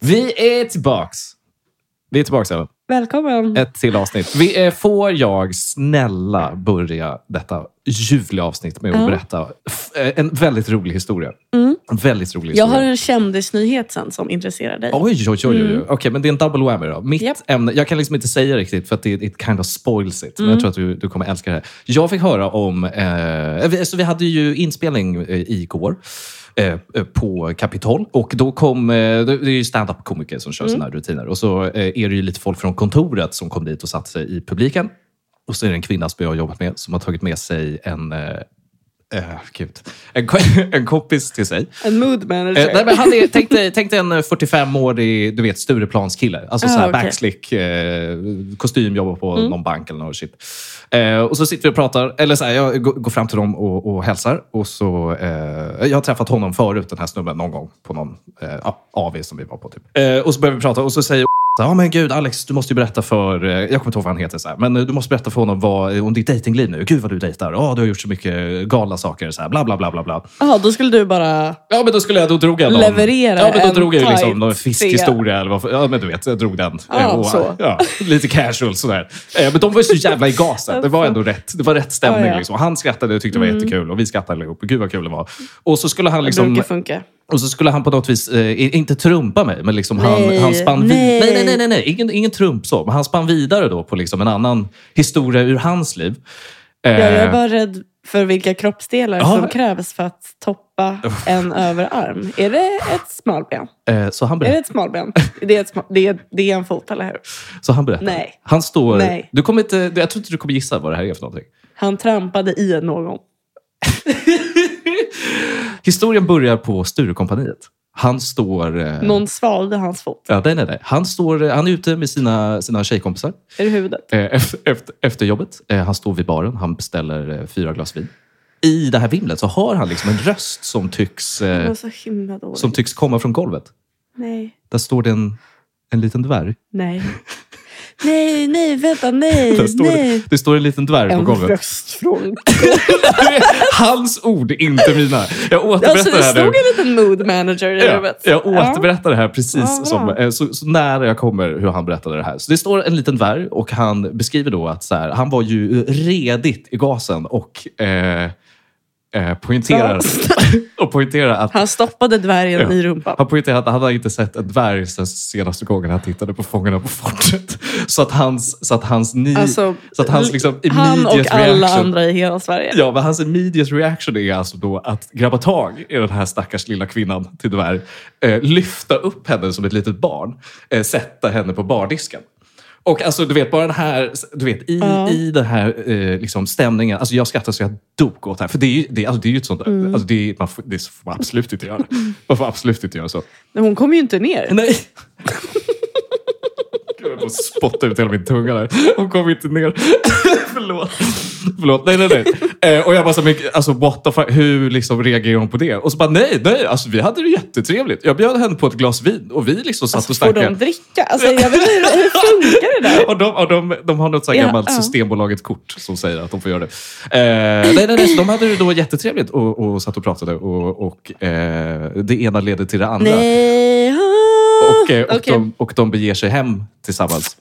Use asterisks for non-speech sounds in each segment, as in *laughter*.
Vi är tillbaks. Vi är tillbaks, Ellen. Välkommen. Ett till avsnitt. Vi, eh, får jag snälla börja detta ljuvliga avsnitt med att Ja. berätta f- eh, en väldigt rolig historia. Mm. En väldigt rolig Jag historia. Oh. har en kändisnyhet sen som intresserar dig. Oj, oj, oj. oj. Mm. Okej, men det är en double whammy då. Mitt Japp. ämne, jag kan liksom inte säga riktigt för att det it kind of spoils it. Men jag Mm. tror att du, du kommer älska det här. Jag fick höra om... Eh, vi, så vi hade ju inspelning eh, igår. eh, eh, på Kapitol. Och då kom, eh, det det är ju stand-up-komiker som Mm. kör såna här rutiner. Och så eh, är det ju lite folk från kontoret som kom dit och satte sig i publiken. Och så är det en kvinna som jag har jobbat med som har tagit med sig en, eh, eh, gud, en, ko- *laughs* en kompis till sig. En mood Eh, nej, manager. men han *laughs* är, tänk, dig, tänk dig en eh, 45-årig du vet, Stureplanskille. Alltså Ah, så här okej. Mm. backslick, eh, kostym, jobbar på någon bank eller något shit. Eh, och så sitter vi och pratar. Eller så här, jag går går fram till dem och, och hälsar. Och så, eh, jag har träffat honom förut, den här snubben, någon gång på någon eh, ja, AV som vi var på. Typ. Eh, och så börjar vi prata och så säger *laughs* så, Ja men gud Alex, du måste ju berätta för, eh, jag kommer inte ihåg vad han heter, så här, men eh, du måste berätta för honom vad, eh, om ditt datingliv nu. Gud vad du dejtar, oh, du har gjort så mycket galna saker, så här, bla bla bla bla bla. Ja, då skulle du bara... Ja, men då skulle jag, då drog jag någon, Leverera Ja, men en då drog jag ju liksom tight någon fiskhistoria eller vad för- Ja, men du vet, jag drog den. Ja, Eh, och, så. Ja, lite casual sådär. Eh, Men de var ju så jävla i gasen. Det var ändå rätt, det var rätt stämning. Ja, Mm. ja. Liksom. Han skrattade och tyckte det var jättekul och vi skrattade allihop. Gud vad kul det var. Och så skulle han Liksom... liksom... Brukar funka. Och så skulle han på något vis, eh, i- inte trumpa mig, men liksom han, Nej, han spann vid- nej. Nej, nej, nej, nej, nej. Ingen, ingen trump så. Men han spann vidare då på liksom en annan historia ur hans liv. Eh, Ja, jag är bara rädd för vilka kroppsdelar Ja. som krävs för att toppa en överarm. Är det ett smalben? eh, så han Är berättade. det ett smalben? Det är, ett sma- det är, det är en fot, eller hur? Så han berättade. Nej. Han står... Nej. Du kommer inte, jag tror inte du kommer gissa vad det här är för någonting. Han trampade i någon. Eh. Historien börjar på Sturecompagniet. Han står... eh, Någon svalde hans fot. Ja, nej, nej, nej. Han, står, eh, han är ute med sina, sina tjejkompisar Är det huvudet? eh, efter, efter, efter jobbet. Eh, han står vid baren. Han beställer eh, fyra glas vin. I det här vimlet så har han liksom en röst som tycks, Det eh, var så himla dåligt. som tycks komma från golvet. Nej, Där står det en, en liten dvärg. nej. Nej, nej, vänta, nej, Där står nej. det, det står en liten dvärg på *laughs* En golvet. röst från... Hans ord, inte mina. Jag återberättar Alltså, det det här stod nu. en liten mood manager i Ja, rummet. jag Ja. återberättar det här precis Ja, som, bra. eh, så, så nära jag kommer hur han berättade det här. Så det står en liten dvärg och han beskriver då att så här, han var ju redigt i gasen och eh, eh, poängterar, *laughs* och poängterar att Han stoppade dvärgen Ja. i rumpan. han poängterar att han hade inte sett en dvärg sen senaste gången han tittade på Fångarna på fortet. *laughs* Så att hans, så att hans, ny, Alltså, så att hans liksom, Han och immediate alla reaction andra i hela Sverige. Ja, men hans immediate reaction är alltså då att grabba tag i den här stackars lilla kvinnan till dvärg, eh, lyfta upp henne som ett litet barn, eh, sätta henne på bardisken. Och alltså, du vet, bara den här, du vet, i, Ja. i den här eh, liksom, stämningen, alltså jag skrattar så jag dog åt det här. För det är ju, det, är- alltså, det är ju ett sånt, alltså, det, är, man får, det får man absolut inte göra. Man får absolut inte göra så. Men Hon kom ju inte ner. Nej. Gud, jag höll spotta ut hela min tunga där. Hon kom inte ner. Förlåt. Förlåt. Nej, nej, nej. Eh, och jag bara, så mycket, alltså, what the fuck? hur liksom reagerar hon på det? Och så bara, nej, nej. Alltså, vi hade det jättetrevligt. Jag bjöd henne på ett glas vin och vi liksom satt och Alltså, Får snackade. de dricka? Alltså, jag vet inte, hur hur *laughs* funkar det där? Och de, och de, de har något så här Ja, gammalt ja. Systembolaget-kort som säger att de får göra det. Eh, nej, nej, nej, så de hade det då jättetrevligt och, och satt och pratade och, och eh, det ena leder till det andra. Nej, ha. Och, eh, och, Okej. de, och de beger sig hem tillsammans.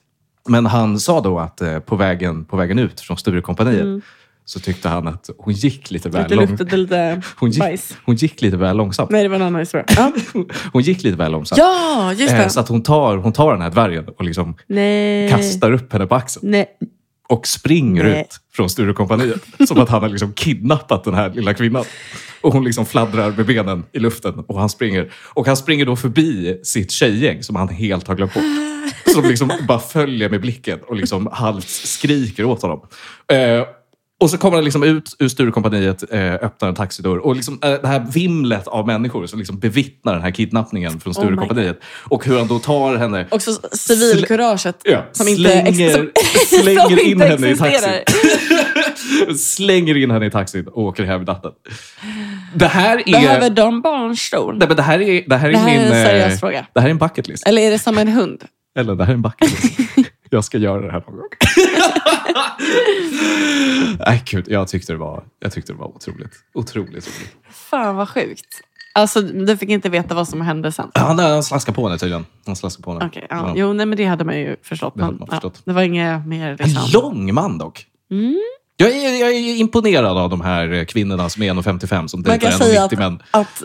Men han sa då att eh, på vägen, på vägen ut från Sturecompagniet så tyckte han att hon gick lite väl, Det lång, luktade Mm. lite *laughs* hon gick, bajs. hon gick lite väl långsamt. Nej, det var en annan historia. Ja, *laughs* Hon gick lite väl långsamt. ja just Eh, det. Så att hon tar, hon tar den här dvärgen och liksom Nej. kastar upp henne på axeln Nej. och springer Nej. ut från Sturecompagniet. Som att han har liksom kidnappat den här lilla kvinnan. Och hon liksom fladdrar med benen i luften och han springer. Och han springer då förbi sitt tjejgäng som han helt har glömt bort. Som liksom bara följer med blicken och liksom halvt skriker åt honom. Eh, och så kommer han liksom ut ur Sturecompagniet, eh, öppnar en taxidörr och liksom, eh, det här vimlet av människor som liksom bevittnar den här kidnappningen från Oh my God. Sturecompagniet. och hur han då tar henne Också civilkuraget Ja, som inte ex- slänger, *laughs* som- *laughs* slänger som in inte henne i taxin. existerar. *laughs* slänger in henne i taxin och åker hem i natten. Det här är... Behöver de barnstol? Nej, men det här är, det här är Det här min... är en eh, seriös fråga. Det här är en bucket list. Eller är det som en hund? Eller det här är en bucket *laughs* list. jag ska göra det här någon gång. Nej, gud. Jag tyckte det var, jag tyckte det var otroligt. Otroligt roligt. Fan vad sjukt. Alltså, du fick inte veta vad som hände sen? Han, han slaskade på henne tydligen. Han slaskade på henne. Okej, ja. Jo, nej, men det hade man ju förstått. Det hade men, man ja, förstått. det var inget mer En liksom. lång man dock. Mm. Jag är, jag är imponerad av de här eh, kvinnorna som är 1,55 som Man dejtar kan säga 1,90 att, män. att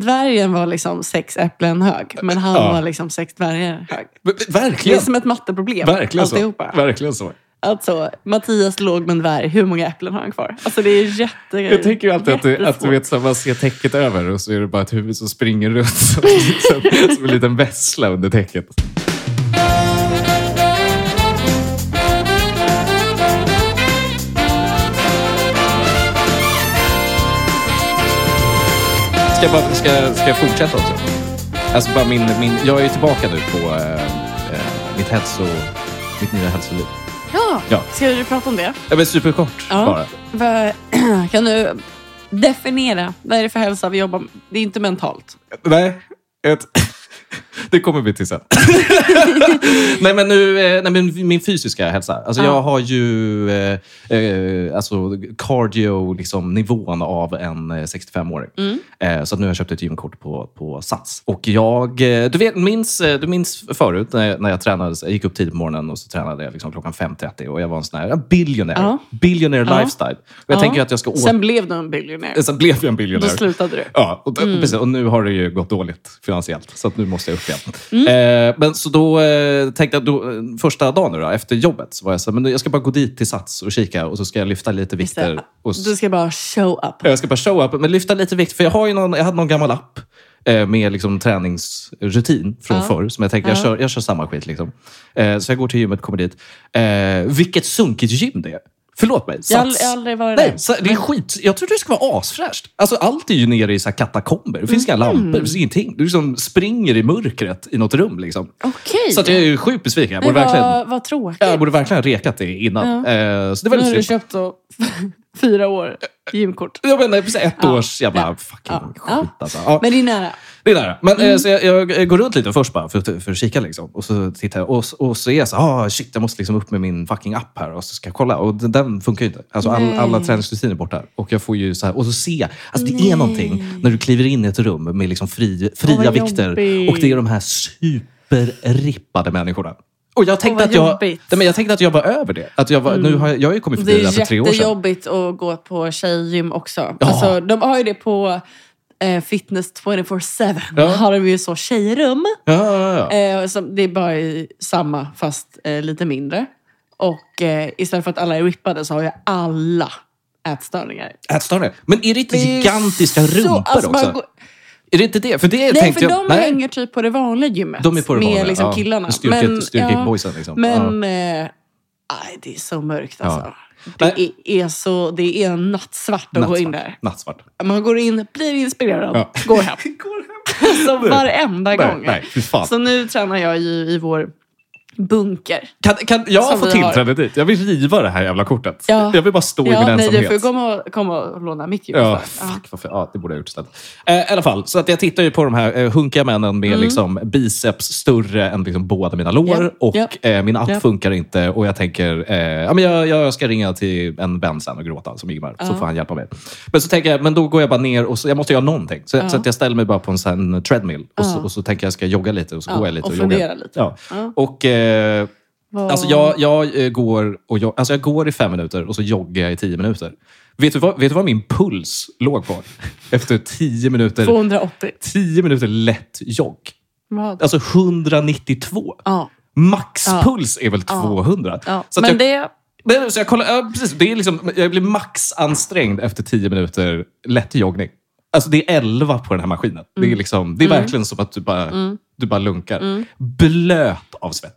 dvärgen var liksom sex äpplen hög, men han Ja. var liksom sex dvärgar hög. Men- men Det är Verkligen! som ett matteproblem, Verkligen så. alltihopa. Verkligen så. Alltså, Mattias låg med en dvärg, hur många äpplen har han kvar? Alltså det är jätte... Jag tänker ju alltid att, det, att du jättesvårt. vet, så här, man ser täcket över och så är det bara ett huvud som springer runt *laughs* som, som, som en liten vessla under täcket. Ska jag, bara, ska, ska jag fortsätta också? Alltså bara min, min, jag är ju tillbaka nu på eh, eh, mitt, hälso, mitt nya hälsoliv. Ja. Ja. ska du prata om det? Ja, men superkort bara. Vad- *clears throat* Kan du definiera, vad är det för hälsa vi jobbar med? Det är inte mentalt. Nej, ett... *laughs* det kommer vi till sen. *laughs* nej, men nu, eh, nej, men min fysiska hälsa. Alltså, Ja. Jag har ju eh, eh, alltså, cardio-nivån liksom, nivån av en eh, 65-åring. Eh, så att nu har jag köpt ett gymkort på, på Sats. Och jag, eh, du, vet, minns, eh, du minns förut när jag, när jag tränade, jag gick upp tidigt på morgonen och så tränade jag liksom klockan 5.30 och jag var en sån här en billionaire. Ja. Billionaire Ja. lifestyle. Och jag Ja. tänker ju att jag ska åter... Sen blev du en *laughs* biljonär. Sen blev jag en Då billionaire. slutade du. Mm. Ja, och, precis, och nu har det ju gått dåligt finansiellt, så att nu måste jag upp igen. Mm. Eh, men så då eh, tänkte jag, då, eh, första dagen nu då, efter jobbet, så var jag så här, men nu- jag ska bara gå dit till Sats och kika och så ska jag lyfta lite Just det. vikter. Och, s- Du ska bara show up. jag ska bara show up, men lyfta lite vikt, för jag, har ju någon, jag hade någon gammal app eh, med liksom träningsrutin från Ja. förr. Som jag tänkte, Ja. jag, kör, jag kör samma skit. Liksom. Eh, så jag går till gymmet, kommer dit. Eh, vilket sunkigt gym det är. Förlåt mig. Jag har Sats. aldrig- jag har aldrig varit Nej, där. så det är skit. Jag trodde det skulle vara asfräscht. Alltså, allt är ju nere i så här katakomber. Det finns Mm. inga lampor, det finns ingenting. Du liksom springer i mörkret i något rum. Liksom. Okej. Så att jag är ju sjukt besviken. Jag Men borde, verkligen, vad, vad tråkigt. jag borde verkligen ha rekat det innan. Eh, så det var nu har lite du synd. köpt då *laughs* fyra år gymkort. Jag menar, precis ett Ja. års jävla fucking Ja. skit. Alltså. Ja. Men det är nära. Det är nära. Men, Mm. eh, så jag, jag går runt lite först bara för, att- för att kika. Liksom. Och så tittar jag och, och så är jag så här, ah, shit, jag måste liksom upp med min fucking app här och så ska jag kolla. Och den, den funkar ju inte. Alltså, all, Nej. alla träningsrutiner är borta. Och jag får ju så här, och så ser jag. Alltså, det är någonting när du kliver in i ett rum med liksom fri, fria vad vikter. jobbigt. Och det är de här superrippade människorna. Och jag tänkte, vad att jag, nej, jobbigt. men jag tänkte att jag var över det. Att jag, var, nu har jag, jag har ju kommit Det förbi det här är för tre år sedan. jättejobbigt att gå på tjejgym också. Alltså, de har ju det på eh, Fitness 24-7. Ja. har de ju så tjejrum. Ja, ja, ja. Eh, som, det är bara i samma, fast eh, lite mindre. Och eh, istället för att alla är rippade så har ju alla ätstörningar. Ätstörningar. Men är det inte Det är gigantiska så- rumpor alltså, man också? går- Är det inte det? För det Nej, tänkte för jag... de nej. hänger typ på det vanliga gymmet. De är på det med vanliga, liksom ja. killarna. Styrke- styrkeboysen, liksom. Men, eh, aj, det är så mörkt alltså. Det Nej. är, är så, det är nattsvart att gå in där. Nattsvart. Man går in, blir inspirerad, Ja. *laughs* *laughs* går hem. Så varenda Nej, gång. nej, fy fan. Så nu tränar jag ju i vår bunker. Kan, kan jag Som få vi har. tillträde dit? Jag vill riva det här jävla kortet. Ja. Jag vill bara stå i min Ja, nej, du ensamhet. får komma och, komma och låna mitt ljus. Ja, Ja. fuck, varför? ja, det borde jag ha gjort istället. Eh, I alla fall, så att jag tittar ju på de här eh, hunkiga männen med Mm. liksom, biceps större än liksom, båda mina lår. Japp, Och japp, eh, min app japp. funkar inte och jag tänker eh, ja, men jag, jag ska ringa till en vän sen och gråta som Ingmar, så Ja. får han hjälpa mig. Men så tänker jag, men då går jag bara ner och så, jag måste göra någonting. Så, så att jag ställer mig bara på en sån här treadmill och, så, Ja. och så tänker jag ska jogga lite och så Ja, går jag lite och och, joggar. fundera lite. Ja. Ja. Och, eh, Vad- Alltså jag, jag, eh, går och jag, alltså jag går i fem minuter och så joggar jag i tio minuter. Vet du vad, vet du vad min puls låg på? Efter tio minuter, 280. tio minuter lätt jogg. Vad? Alltså 192. Ja. Maxpuls är väl 200? Ja. Så, att Men jag, det... Nej, så jag, kollar, ja, precis, det är liksom, jag blir maxansträngd efter tio minuter lätt joggning. Alltså det är 11 på den här maskinen. Mm. Det är, liksom, det är verkligen som att du bara, du bara lunkar. Blöt av svett.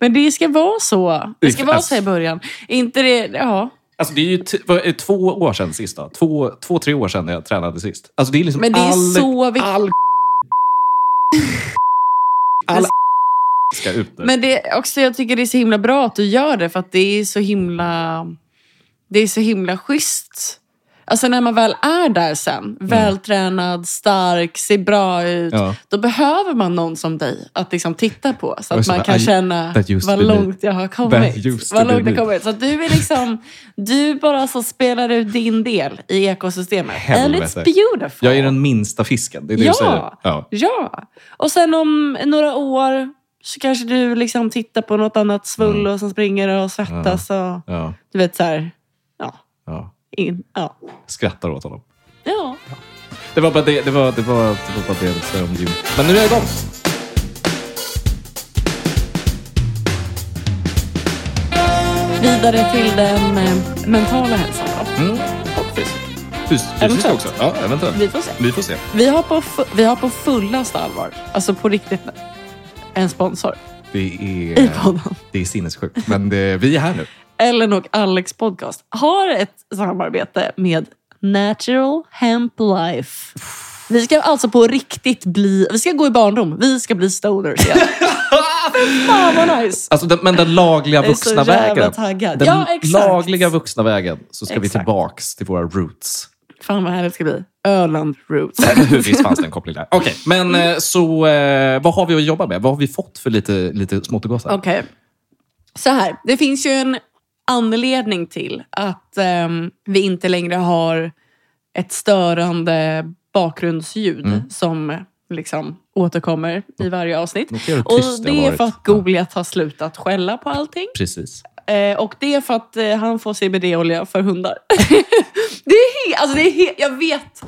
Men det ska vara så. Det ska vara Alltså- så i början. Inte det... Ja. Alltså det är ju t- vad är det, två år sedan sist då. Två, två, tre år sedan jag tränade sist. Alltså det är liksom Men det är all, så viktigt. *laughs* all all ska ut nu. Men det är också, jag tycker det är så himla bra att du gör det för att det är så himla... Det är så himla schysst. Alltså när man väl är där sen, vältränad, stark, ser bra ut. Mm. Ja. Då behöver man någon som dig att liksom titta på. Så Och att så man bara, kan "I- känna that used vad to be me." långt jag har kommit. used Vad to be långt me. jag kommit. Så att du är liksom, du bara så spelar ut din del i ekosystemet. And Helvete. it's beautiful. Jag är den minsta fisken, det är det du säger. Ja. Ja. ja! Och sen om några år så kanske du liksom tittar på något annat svull och som springer och svettas och Mm. Ja. du vet så här, ja. Ja. In, ja. Skrattar åt honom. ja. Det var bara det, det, var, det, var, det, var bara det jag ville säga om Jim. Men nu är jag igång! Vidare till den eh, mentala hälsan då. Mm. Och fysik. Fys, fysiskt Eventuellt. också. Ja, eventuellt. Vi får se. Vi får se. Vi har, på, fu- vi har på fullaste allvar, alltså på riktigt, en sponsor Det i är, podden. det är sinnessjukt. Men det, vi är här nu. Ellen och Alex podcast har ett samarbete med Natural Hemp Life. Vi ska alltså på riktigt bli, vi ska gå i barndom, vi ska bli stoners igen. Fy Fan vad nice! Alltså den, men den lagliga Jag är så vuxna jävla vägen. taggad. Den Ja, exakt. lagliga vuxna vägen så ska vi Exakt. tillbaks till våra roots. *laughs* Fan vad härligt det ska bli. Öland Roots. Visst fanns det en koppling där. Okej, men eh, så eh, vad har vi att jobba med? Vad har vi fått för lite, lite smått och gott här? Okej. Så här, det finns ju en anledning till att ehm, vi inte längre har ett störande bakgrundsljud Mm. som liksom återkommer i varje avsnitt. Notera hur Och tyst det har det är varit. för att Goliat har slutat skälla på allting. Precis. Eh, och det är för att eh, han får CBD-olja för hundar. *laughs* det är helt, alltså det är he- jag vet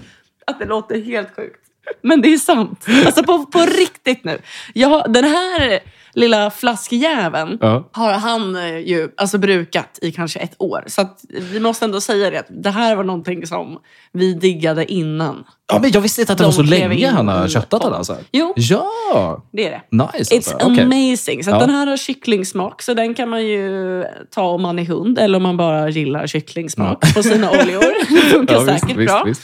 att det låter helt sjukt. Men det är sant. Alltså på, på riktigt nu. Jag, har- den här lilla flaskjäveln Ja. har han eh, ju alltså, brukat i kanske ett år. Så att, vi måste ändå säga det. att Det här var någonting som vi diggade innan. ja, men jag visste inte att det De var så klev länge in han i har köttat den podden. alltså. Jo, Ja! det är det. Nice It's alltså. Okej. amazing. Så att Ja. Den här har kycklingsmak, så den kan man ju ta om man är hund eller om man bara gillar kycklingsmak *laughs* på sina oljor. Det funkar Ja, visst, säkert visst, bra. visst.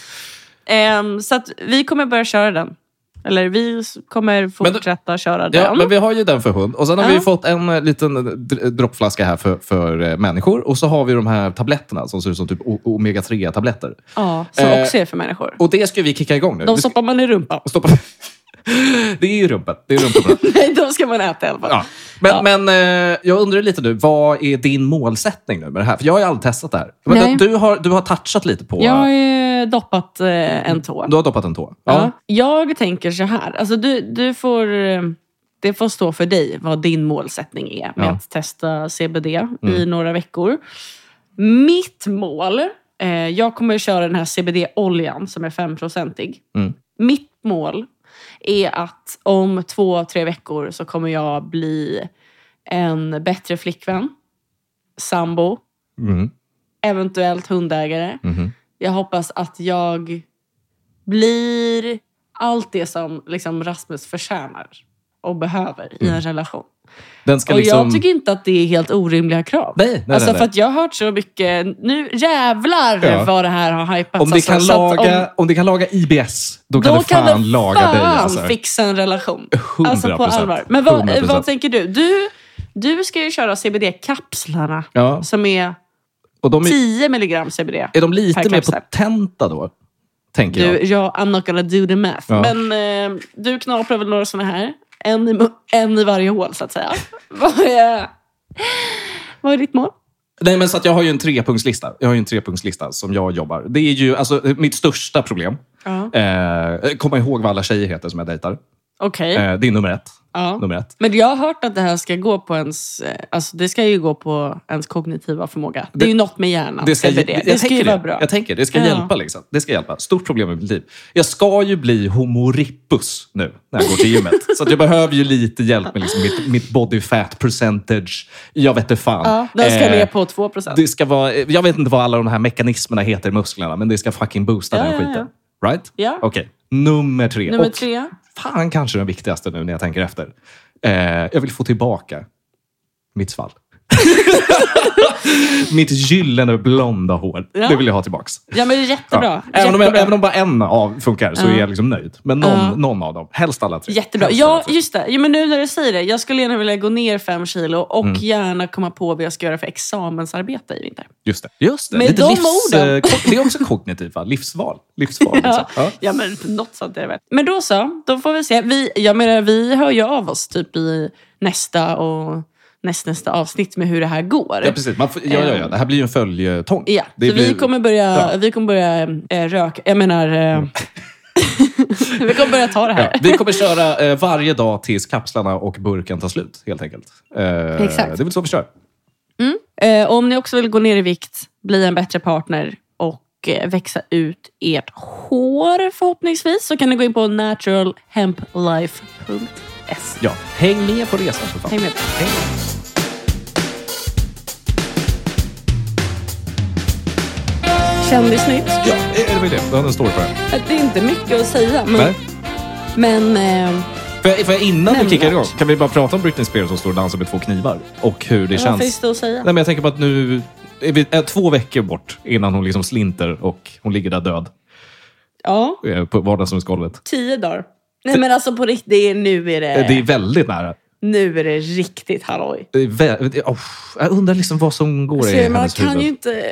Ehm, så att vi kommer börja köra den. Eller vi s- kommer fortsätta köra den. Ja, men vi har ju den för hund. Och sen har Ja. vi fått en eh, liten eh, dr- droppflaska här för, för eh, människor. Och så har vi de här tabletterna som ser ut som typ o- omega-3-tabletter. Ja, som Eh, också är för människor. Och det ska vi kicka igång nu. De Vi ska- stoppar man *laughs* i rumpan. stoppa. Det är ju rumpen. Det är rumpen. *laughs* Nej, de ska man äta i alla fall. Ja. Men, Ja. men eh, jag undrar lite nu, vad är din målsättning nu med det här? För jag har ju aldrig testat det här. Men Nej. Du, har, du har touchat lite på... Jag har ju doppat eh, en tå. Du har doppat en tå? Ja. Jag tänker så här. Alltså du, du får, eh, det får stå för dig vad din målsättning är med Ja. Mm. att testa CBD i några veckor. Mitt mål, eh, jag kommer att köra den här CBD-oljan som är 5-procentig. Mm. Mitt mål är att om två, tre veckor så kommer jag bli en bättre flickvän, sambo, Mhm, eventuellt hundägare. mhm. Jag hoppas att jag blir allt det som liksom Rasmus förtjänar och behöver i en relation. Den Mm. ska Och liksom... jag tycker inte att det är helt orimliga krav. Nej, nej, nej, alltså nej. för att jag har hört så mycket, nu jävlar Ja. vad det här har hypats. Om det, alltså, kan så att laga, om- om... det kan laga IBS, då kan då det fan laga dig. fan Alltså. fixa en relation. 100%. Alltså på allvar. Men vad, 100%. vad tänker du? du? Du ska ju köra CBD-kapslarna Ja. som är Och de är, 10 milligram CBD. är de lite Per mer kapsel. potenta då? Tänker Du, jag. jag, I'm not gonna do the math. Ja. Men eh, du knaprar väl några såna här? En i, mu- en i varje hål, så *laughs* att säga. vad, är, vad är ditt mål? Nej, men så att jag har ju en trepunktslista. Jag har ju en trepunktslista som jag jobbar. Det är ju alltså, mitt största problem. Ja. Eh, komma ihåg vad alla tjejer heter som jag dejtar. Okej. Eh, det är nummer ett. Ja. Nummer ett. Men jag har hört att det här ska gå på ens... eh, Alltså det ska ju gå på ens kognitiva förmåga. Det, är ju något med hjärnan. Det ska, CBD. jag, det ska ju tänker vara det. bra. Jag tänker det. ska Ja. hjälpa. Liksom. Det ska hjälpa. Stort problem i mitt liv. Jag ska ju bli homorippus nu när jag går till *laughs* gymmet. så att jag behöver ju lite hjälp med liksom mitt, mitt body fat percentage. Jag vet inte fan. Ja, den ska Eh, ner på 2 procent. det ska vara, jag vet inte vad alla de här mekanismerna heter i musklerna, men det ska fucking boosta Ja, den ja, skiten. Right? Ja. Okej, nummer tre. Nummer Och tre. fan kanske den viktigaste nu när jag tänker efter. Eh, jag vill få tillbaka mitt svall. *laughs* Mitt gyllene blonda hår. Ja. Det vill jag ha tillbaks. Ja, men det är jättebra. Ja. Även, om, jättebra. även om bara en av funkar så Ja. är jag liksom nöjd. Men någon, Ja. någon av dem. Helst alla tre. Jättebra. Helst alla Ja, tre. just det. Jo, men nu när du säger det. Jag skulle gärna vilja gå ner fem kilo och Mm. gärna komma på vad jag ska göra för examensarbete i vinter. Just det. Just det. Med Lite de livs, orden. eh, ko- Det är också kognitivt, va? Livsval. Livsval *laughs* Ja. liksom. ja. Ja, men något sånt är det väl. Men då så. Då får vi se. Vi, jag menar, vi hör ju av oss typ i nästa och nästnästa avsnitt med hur det här går. Ja, precis. Man får, ja, ja, ja. Det här blir ju en följetong. Ehm. Ja, Det så vi blir- kommer börja, Ja. vi kommer börja eh, röka. Jag menar... Eh, *laughs* vi kommer börja ta det här. Ja, vi kommer köra eh, varje dag tills kapslarna och burken tar slut, helt enkelt. Eh, Exakt. Det är väl så vi kör. Eh, och om ni också vill gå ner i vikt, bli en bättre partner och eh, växa ut ert hår förhoppningsvis så kan ni gå in på naturalhemplife.se. Ja. Häng med på resan för fan. Häng med. Häng med. Kändisnytt. Ja, är det väl det? Du hade en story på det. Det är inte mycket att säga, men... Nej. men eh, Får jag, får jag innan vi Nämnvärt. kickar igång, kan vi bara prata om Britney Spears som står och dansar med två knivar? Och hur det vad finns känns. det att säga? Nej, men jag tänker på att nu är vi är två veckor bort innan hon liksom slinter och hon ligger där död Ja, eh, på vardagsrumsgolvet. tio dagar. Nej men alltså på riktigt, det är, nu, är det, Eh, Det är väldigt nära. nu är det riktigt halloj. Det är vä- det- oh, jag undrar liksom vad som går i Så Alltså, man hennes kan huvud. ju inte...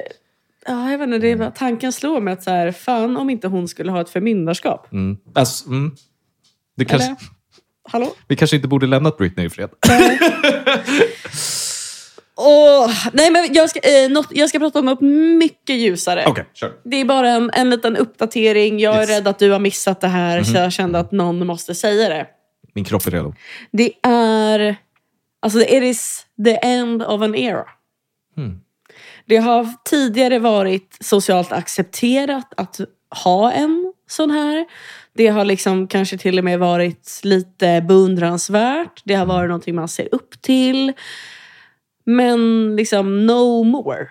Ja, jag vet inte, det är bara, tanken slår mig att så här, fan om inte hon skulle ha ett förmyndarskap. Mm. Alltså, mm. Det kanske, Eller? Hallå? vi kanske inte borde lämnat Britney i fred. Åh, nej, men jag, ska, eh, något, jag ska prata om något mycket ljusare. Okej, kör. Det är bara en, en liten uppdatering. Jag är Yes. rädd att du har missat det här, så jag kände att någon måste säga det. Min kropp är redo. Det är... Alltså, it is the end of an era. Mm. Det har tidigare varit socialt accepterat att ha en sån här. Det har liksom kanske till och med varit lite beundransvärt. Det har varit någonting man ser upp till. Men liksom no more.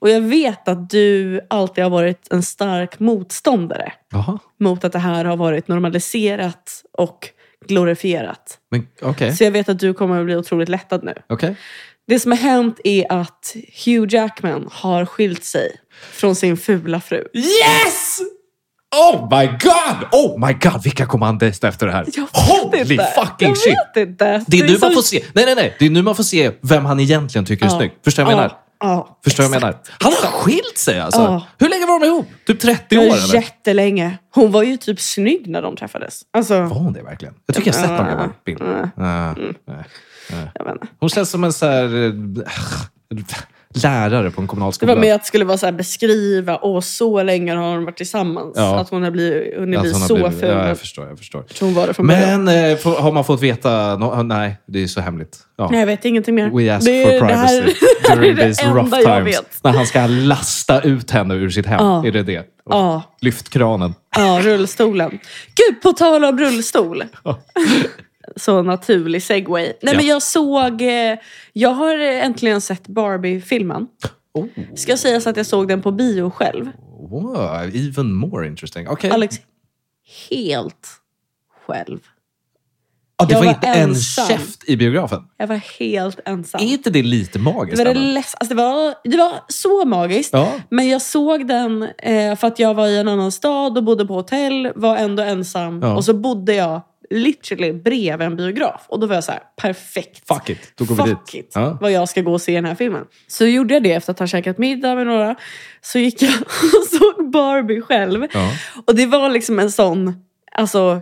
Och jag vet att du alltid har varit en stark motståndare Jaha, mot att det här har varit normaliserat och glorifierat. men okej. Så jag vet att du kommer att bli otroligt lättad nu. Okej. Det som har hänt är att Hugh Jackman har skilt sig från sin fula fru. Yes! Oh my god! Oh my god, vilka kommer han dejta efter det här? Jag vet Holy inte. fucking jag shit! Vet inte. Det är nu man så- får se. Nej, nej, nej. Det är nu man får se vem han egentligen tycker är Ja. snygg. Förstår jag vad jag menar? Ja, ja, Förstår jag vad jag exakt. menar? Han har skilt sig alltså. Ja. Hur länge var de ihop? Typ 30 år eller? Jättelänge. Hon var ju typ snygg när de träffades. Alltså, Var hon det verkligen? Jag tycker jag har sett någon Ja. gammal bild. Mm. Ja, nej. jag vet inte. Hon känns som en så här, eh, lärare på en Det kommunalskola. var mer att det skulle vara så här beskriva, och så länge har de varit tillsammans. Ja. Att hon har blivit, hon har Att blivit Alltså, hon har så blivit- ful. Ja, jag förstår. Jag förstår. Så hon var det från början. Men eh, får- har man fått veta? nå- nej, det är så hemligt. Ja. Nej, jag vet ingenting mer. We ask Det är- for privacy *laughs* Det här, during det här är these det rough enda jag times. vet. När han ska lasta ut henne ur sitt hem. Ja. Är det det? Och Ja. Lyft kranen. Ja, rullstolen. Gud, på tal om rullstol. *laughs* Så naturlig segway. Nej, Ja. men jag såg... eh, Jag har äntligen sett Barbie-filmen. Oh, Ska sägas att jag såg den på bio själv. wow, even more interesting. Okej. Alex, helt själv. Ja, det jag var var inte en ensam. käft i biografen. Jag var helt ensam. Är inte det lite Det magiskt? var, det, ändå? läs- alltså, det, var, det var så magiskt. Ja. Men jag såg den eh, för att jag var i en annan stad och bodde på hotell, var ändå ensam. Ja. Och så bodde jag literally bredvid en biograf. Och då var jag så här, perfekt. Fuck it, då går vi Fuck dit. it, Ja. vad jag ska gå och se den här filmen. Så gjorde jag det efter att ha käkat middag med några. Så gick jag *laughs* och såg Barbie själv. Ja. Och det var liksom en sån, alltså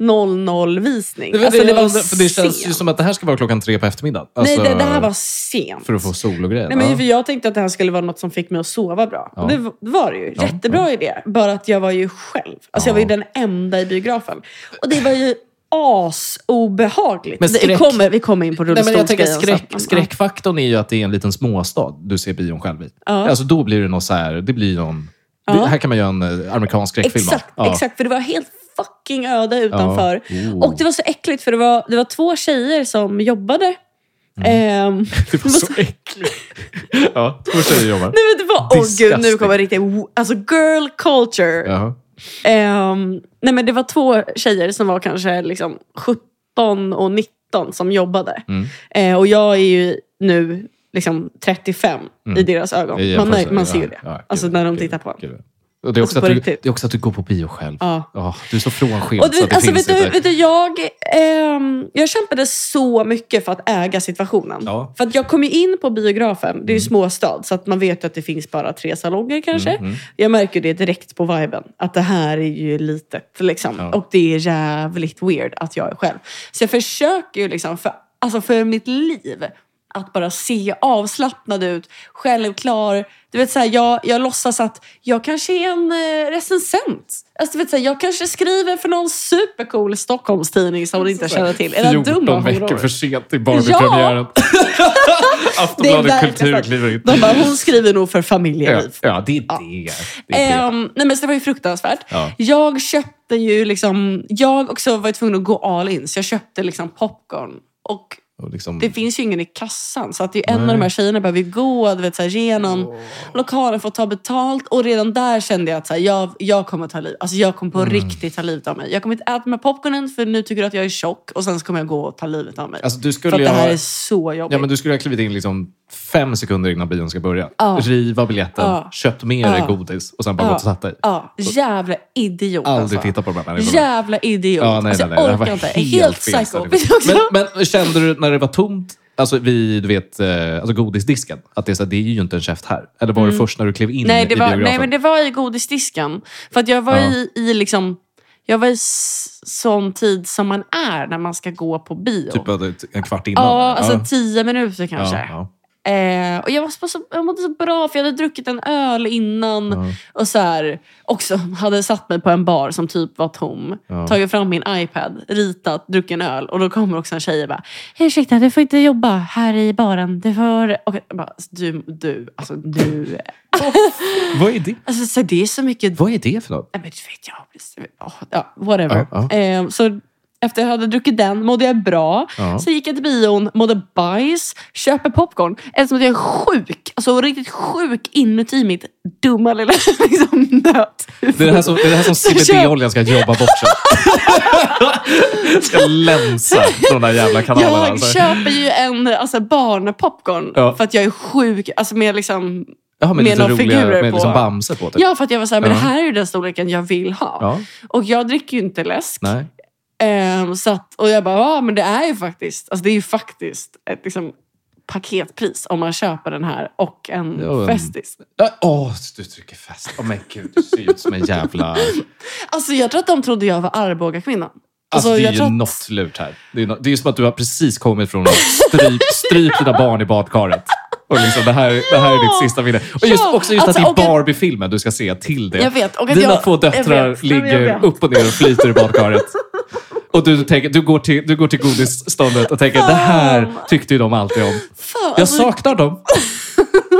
22.00 visning. Det, var- alltså, det, det var för det känns ju sent. som att det här ska vara klockan tre på eftermiddagen. Alltså, Nej, det, det här var sent. För att få sol och grejer. Nej, men Ja. för jag tänkte att det här skulle vara något som fick mig att sova bra. Ja. Och det v- var det ju. Ja, Jättebra idé. Bara att jag var ju själv. Alltså Ja. jag var ju den enda i biografen. Och det var ju asobehagligt. Men Det, skräck- kommer, vi kommer in på Nej, men jag tänker rullstolsgrejen skräck, sen. skräckfaktorn är ju att det är en liten småstad du ser bion själv i. Ja. Alltså då blir det något så här, det blir någon... Ja. Det, här kan man göra en eh, amerikansk skräckfilm av. Exakt, exakt. För det var helt fucking öde utanför. Oh. Och det var så äckligt för det var, det var två tjejer som jobbade. Mm. Ehm, *laughs* *laughs* Det var så äckligt. ja, två tjejer jobbar. nej men det var, åh gud, nu Disgusting. kommer riktigt, alltså girl culture. Jaha. Ehm, nej men det var två tjejer som var kanske liksom 17 17 och 19 som jobbade. Mm. Eh, och jag är ju nu liksom 35 Mm. i deras ögon. Man, mär- man ser ju det. Alltså när de tittar på en. Och det, är också Alltså, på att du, riktigt. det är också att du går på bio själv. Ja. Ja, du är så frånskild Och du, så att det vet, alltså, finns vet, du, inte. vet du, jag, ehm, jag kämpade så mycket för att äga situationen. Ja. För att jag kom ju in på biografen, det är ju småstad, så att man vet ju att det finns bara tre salonger kanske. Mm, mm. Jag märker ju det direkt på viben, att det här är ju litet. Liksom. Ja. Och det är jävligt weird att jag är själv. Så jag försöker ju liksom för, alltså för mitt liv att bara se avslappnad ut, självklar. Du vet, så här, jag, jag låtsas att jag kanske är en eh, recensent. Alltså, du vet, så här, jag kanske skriver för någon supercool Stockholmstidning som du inte Alltså, känner till. Är det 14 dumma veckor horor? för sent i Barbie-premiären. Det *laughs* är Aftonbladet verkligen Kultur sant. kliver in. De bara, hon skriver nog för Ja, familjeliv. ja, det är Ja. det. det, är det. Ehm, nej men så det var ju fruktansvärt. Ja. Jag köpte ju liksom... Jag också var ju tvungen att gå all in, så jag köpte liksom popcorn. Och Och liksom, det finns ju ingen i kassan, så att det är ju en Nej. av de här tjejerna behöver ju gå du vet, så här, genom lokalen för att ta betalt. Och redan där kände jag att så här, jag, jag kommer ta liv. Alltså jag kommer på Mm. riktigt ta livet av mig. Jag kommer inte äta med popcornen för nu tycker du att jag är tjock och sen så kommer jag gå och ta livet av mig. alltså, du för skulle att ju det här ha, är så jobbigt. ja, men du skulle ha klivit in liksom fem sekunder innan bion ska börja. Ja. Riva biljetten, Ja. köpt med dig Ja. godis och sen bara Ja. gått och satt dig. Ja, jävla idiot Aldrig alltså. titta på de här människorna. Jävla idiot. Ja, nej, alltså, nej, nej. Det här jag var orkar inte. helt Helt fel psycho. Alltså- ställning. *laughs* Men, men kände du när det var tomt, alltså vid du vet, eh, alltså godisdisken, att det är, så här, det är ju inte en käft här? Eller var det först när du klev in Mm. nej, det i var, biografen? nej, men det var i godisdisken. För att jag var Ja. i, i liksom... Jag var i s- sån tid som man är när man ska gå på bio. Typ bara ett- en kvart innan? ja, alltså Ja. tio minuter kanske. Ja, ja, Eh, och jag, var så- så, jag mådde så bra för jag hade druckit en öl innan. Ja. Och så här, också hade satt mig på en bar som typ var tom. Ja. Tagit fram min iPad, ritat, druckit en öl. Och då kommer också en tjej och bara “Ursäkta, du får inte jobba här i baren. Du får...” och jag bara, alltså, Du, du, alltså du. Vad är det? Alltså så det är så mycket... Vad är det för något? Nej men du vet, jag precis. Ja, whatever. Ja, Eh, så efter jag hade druckit den mådde jag bra. Ja. Så gick jag till bion, mådde bajs, köper popcorn. Eftersom att jag är sjuk, alltså riktigt sjuk inuti mitt dumma lilla *laughs* liksom, nöt. Det är det här som, det är det här som Så kör- CBD-oljan ska jobba *laughs* bort sen. ska länsa de där jävla kanalerna. Jag alltså. köper ju en alltså, barnpopcorn Ja. för att jag är sjuk. Alltså med liksom... Jaha, med lite några roliga- figurer med på. liksom Bamse på. Typ. Ja, för att jag var såhär, men Ja. det här är ju den storleken jag vill ha. Ja, Och jag dricker ju inte läsk. Nej. Ehm, så att, och jag bara, ja men det är ju faktiskt, alltså det är ju faktiskt ett liksom, paketpris om man köper den här och en Ja, men- Festis. Ja, Åh, du trycker fast. Åh men gud, du ser ut som en jävla... Alltså jag tror att de trodde jag var Arboga-kvinnan. Alltså, det är jag ju något lurt här. Det är, no- det är ju som att du har precis kommit från att *laughs* stryp, stryp dina barn i badkaret. Och liksom, det, här, det här är ditt sista minne. Och just, Ja, också just alltså, att och det är att- Barbie-filmen du ska se till det. Jag vet, och att Dina jag- två jag döttrar vet, nej, men jag ligger vet. upp och ner och flyter i *laughs* badkaret. Och du, tänker, du, går till, du går till godisståndet och tänker det här tyckte ju de alltid om. Fan, Jag alltså, saknar *laughs* dem.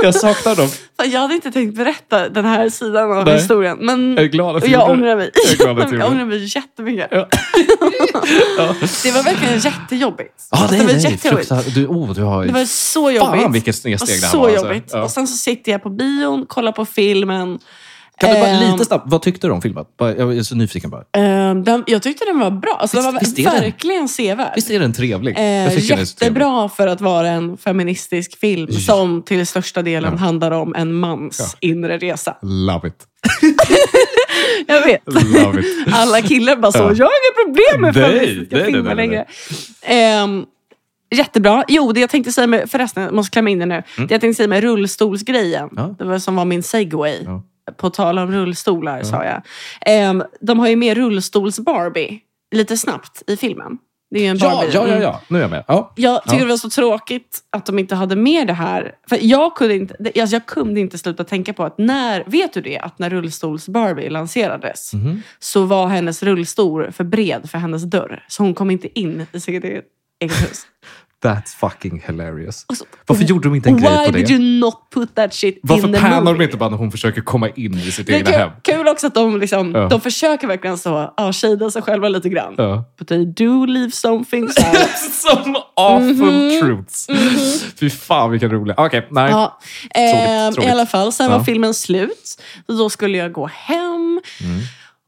Jag saknar dem. fan, jag hade inte tänkt berätta den här sidan av Nej. historien. Men Jag är glad att och du gjorde jag det. ångrar mig. Jag är glad att du *laughs* Jag gjorde ångrar mig jättemycket. *laughs* Ja. Ja. Det var verkligen jättejobbigt. Ah, Alltså, nej, det var nej. jättejobbigt. Fruktar, du, oh, du har... Det var så jobbigt. Fan vilket snedsteg det här så var. alltså. jobbigt. Ja. Och sen så sitter jag på bion, kollar på filmen. Kan du bara Ehm, lite snabbt, vad tyckte du om filmen? Bara- Jag är så nyfiken bara. ehm, den, jag tyckte den var bra. Alltså, den var Visst- visst är den? verkligen sevärd. Visst är den trevlig? Eh, tycker den är så trevlig. jättebra för att vara en feministisk film Ja. som till största delen Ja. handlar om en mans inre resa. Love it. Jag vet. Love *laughs* it. Alla killar bara så, Ja. jag har inga problem med Nej, feministiska nej, nej, filmer nej, nej. längre. Ehm, jättebra. Jo, det jag tänkte säga med, förresten, jag måste klämma in det nu. Det jag tänkte säga med rullstolsgrejen, Mm. Ja. det var som var min segway. Ja. På tal om rullstolar sa jag. Ehm, de har ju med rullstols-Barbie lite snabbt i filmen. Det är ju en Ja, Barbie. ja, ja, Mm. ja. Nu är jag med. Ja. Jag tycker Ja. det var så tråkigt att de inte hade med det här. För jag kunde inte, det- alltså jag kunde inte sluta tänka på att när, vet du det, att när rullstols-Barbie lanserades Mhm. så var hennes rullstol för bred för hennes dörr. Så hon kom inte in i sitt eget eget *laughs* hus. That's fucking hilarious. Alltså, Och så- Varför gjorde de inte en grej Why på did det? you not put that shit Varför in the pannar de movie? inte bara när hon försöker komma in i sitt Det är egna hem? kul, kul också att de, liksom, Ja. de försöker verkligen så, ah, shada sig själva lite grann. Ja. *laughs* But they do leave something out. Some awful truths. Fy fan vilken rolig. Okej, nej. Mm-hmm. Ja, Tråkigt, ehm, tråkigt. I alla fall, sen Ja. Mm. var filmen slut. Så Då skulle jag gå hem.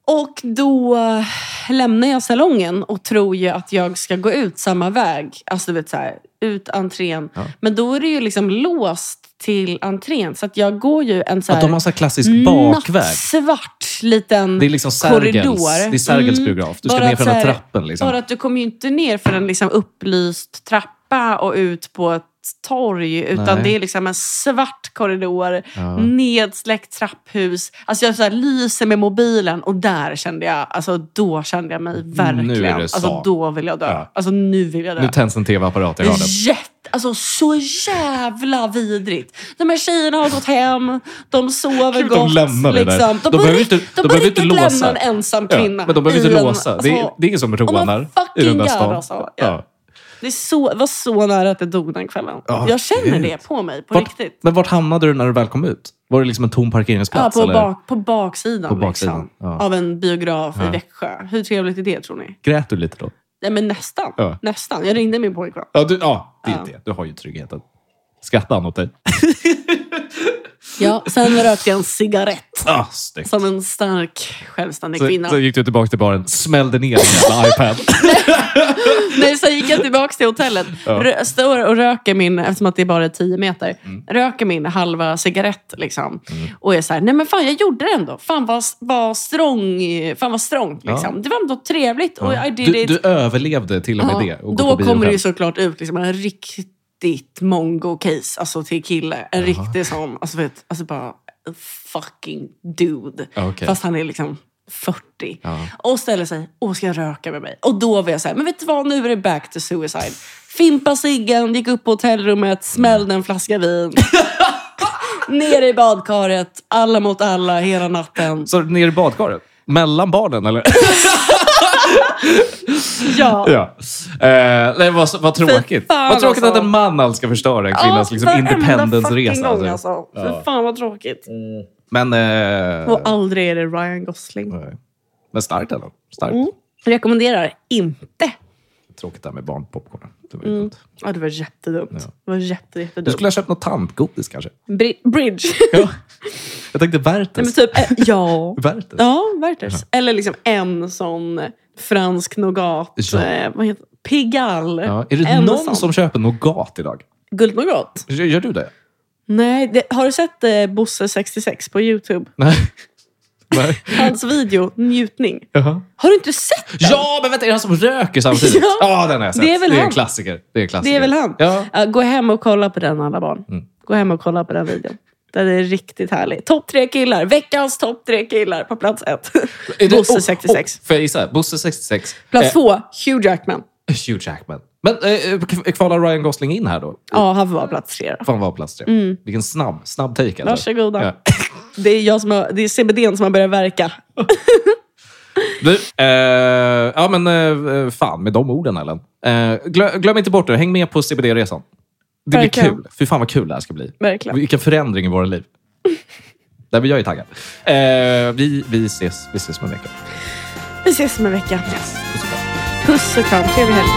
Och då eh, lämnar jag salongen och tror ju att jag ska gå ut samma väg. Alltså du vet så här, ut entrén. Ja. Men då är det ju liksom låst till entrén. Så att jag går ju en så Att de här har så här klassisk bakväg. nattsvart liten Det är liksom Sergels, korridor. det är Sergels Mm. biograf. Du ska Bara ner för att den här så här- trappen. Liksom. Bara att du kommer ju inte ner för en liksom upplyst trappa och ut på ett torg. Utan Nej. det är liksom en svart korridor, Ja. nedsläckt trapphus. Alltså jag så här lyser med mobilen och där kände jag, alltså då kände jag mig verkligen. Nu är det alltså så. då vill jag dö. Ja. Alltså nu vill jag dö. Nu tänds en tv-apparat i hörnet. Jätte, alltså så jävla vidrigt. De här tjejerna har gått hem, de sover Kul, de gott. lämnar det där. liksom. De behöver på inte- rikt- de på behöver inte riktigt låsa. lämna en ensam Ja, kvinna. men de behöver i inte en- låsa. Det är, alltså, det är ingen som man rånar i fucking den där gör stan. alltså, ja. Ja. det är så, det var så nära att det dog den kvällen. Ja, jag känner gud. det på mig, på Vart, riktigt. men vart hamnade du när du väl kom ut? Var det liksom en tom Ja, parkeringsplats? på, eller? bak, på baksidan, På baksidan, liksom, ja. av en biograf i Ja. Växjö. Hur trevligt är det tror ni? Grät du lite då? Nej, men nästan. Ja. nästan. Jag ringde min pojkvän. Ja, du, ja det är Ja. det. Du har ju tryggheten. Skrattade han åt dig? Ja, sen rökte jag en cigarett. Ah, snyggt. Som en stark, självständig Så, kvinna. så gick du tillbaka till baren, smällde ner din jävla iPad. Nej, sen gick jag tillbaka till hotellet. Ja. Rö- Står och röker min, eftersom att det är bara är 10 meter, röker min halva cigarett. Liksom. Och är så här, nej men fan jag gjorde det ändå. Fan vad, vad strong, fan vad strong liksom. Det var ändå trevligt. Och I did Du, it. du överlevde till och med Ja, det. Och gå Då på bio kommer det själv. ju såklart ut liksom, en riktigt mongo-case alltså, till kille. En riktig sån, alltså, vet, alltså bara a fucking dude. Ja, okej. Fast han är liksom 40. Ja. Och ställer sig, åh ska jag röka med mig? Och då var jag såhär, men vet du vad, nu är det back to suicide. Fimpa ciggen, gick upp på hotellrummet, smällde en *laughs* flaska vin. Ner i badkaret, alla mot alla hela natten. Så ner i badkaret? Mellan barnen eller? *laughs* Ja. ja. Eh, nej, vad, vad tråkigt. fan, vad tråkigt alltså. att en man alls ska förstöra en kvinnas liksom, varenda fucking independence-resa. gång Alltså. alltså. Fy Ja. fan vad tråkigt. Men, eh, Och aldrig är det Ryan Gosling. nej. men starkt ändå. Starkt. Mm. Rekommenderar inte. Tråkigt det här med barnpopcorn. Det var ju dumt. Ja, det var jättedumt. Det var jätte, Du jättedumt. skulle ha köpt något tantgodis kanske? Bri- *laughs* Bridge. Ja. Jag tänkte Werthers. Nej, men typ, eh, ja. Werthers? Ja, Werthers. Eller liksom en sån fransk nougat. Ja. Eh, vad heter Pigalle. Ja. Är det En någon sån. som köper nougat idag? Guldnougat? Gör, gör du det? Nej, det, har du sett eh, Bosse66 på Youtube? Nej. *laughs* Nej. Hans video Njutning. Jaha. Har du inte sett den? Ja, men vänta, är det han som röker samtidigt? *laughs* Ja. Ja, den har jag sett. Det är väl han. en klassiker. Det är, en klassiker. Det är väl han? Ja. Ja, gå hem och kolla på den alla barn. Mm. Gå hem och kolla på den videon. Den är riktigt härlig. Topp tre killar. Veckans topp tre killar på plats ett. Är det- Bosse oh, 66. Oh, får jag gissa? Bosse 66. Plats två, Hugh Jackman. Eh, Hugh Jackman. Men eh, k- kvalar Ryan Gosling in här då? Ja, han var plats tre. då. Fan vad plats tre. Vilken snabb, snabb take. Alltså. Mm. Varsågoda. Ja. Det är, jag som har, det är CBDn som har börjat verka. Du, eh, ja men eh, fan med de orden Ellen. Eh, glö, glöm inte bort det, häng med på CBD-resan. Det blir Verkligen. kul. Fy fan vad kul det här ska bli. Verkligen. Vilken förändring i våra *laughs* liv. Där vi jag är taggad. Eh, vi, vi ses, vi ses om en vecka. Vi ses om en vecka. Puss och kram. Puss och kram. Trevlig helg.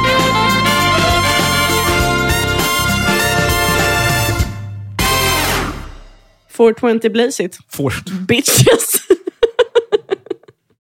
Four twenty blaze it. Får- Bitches.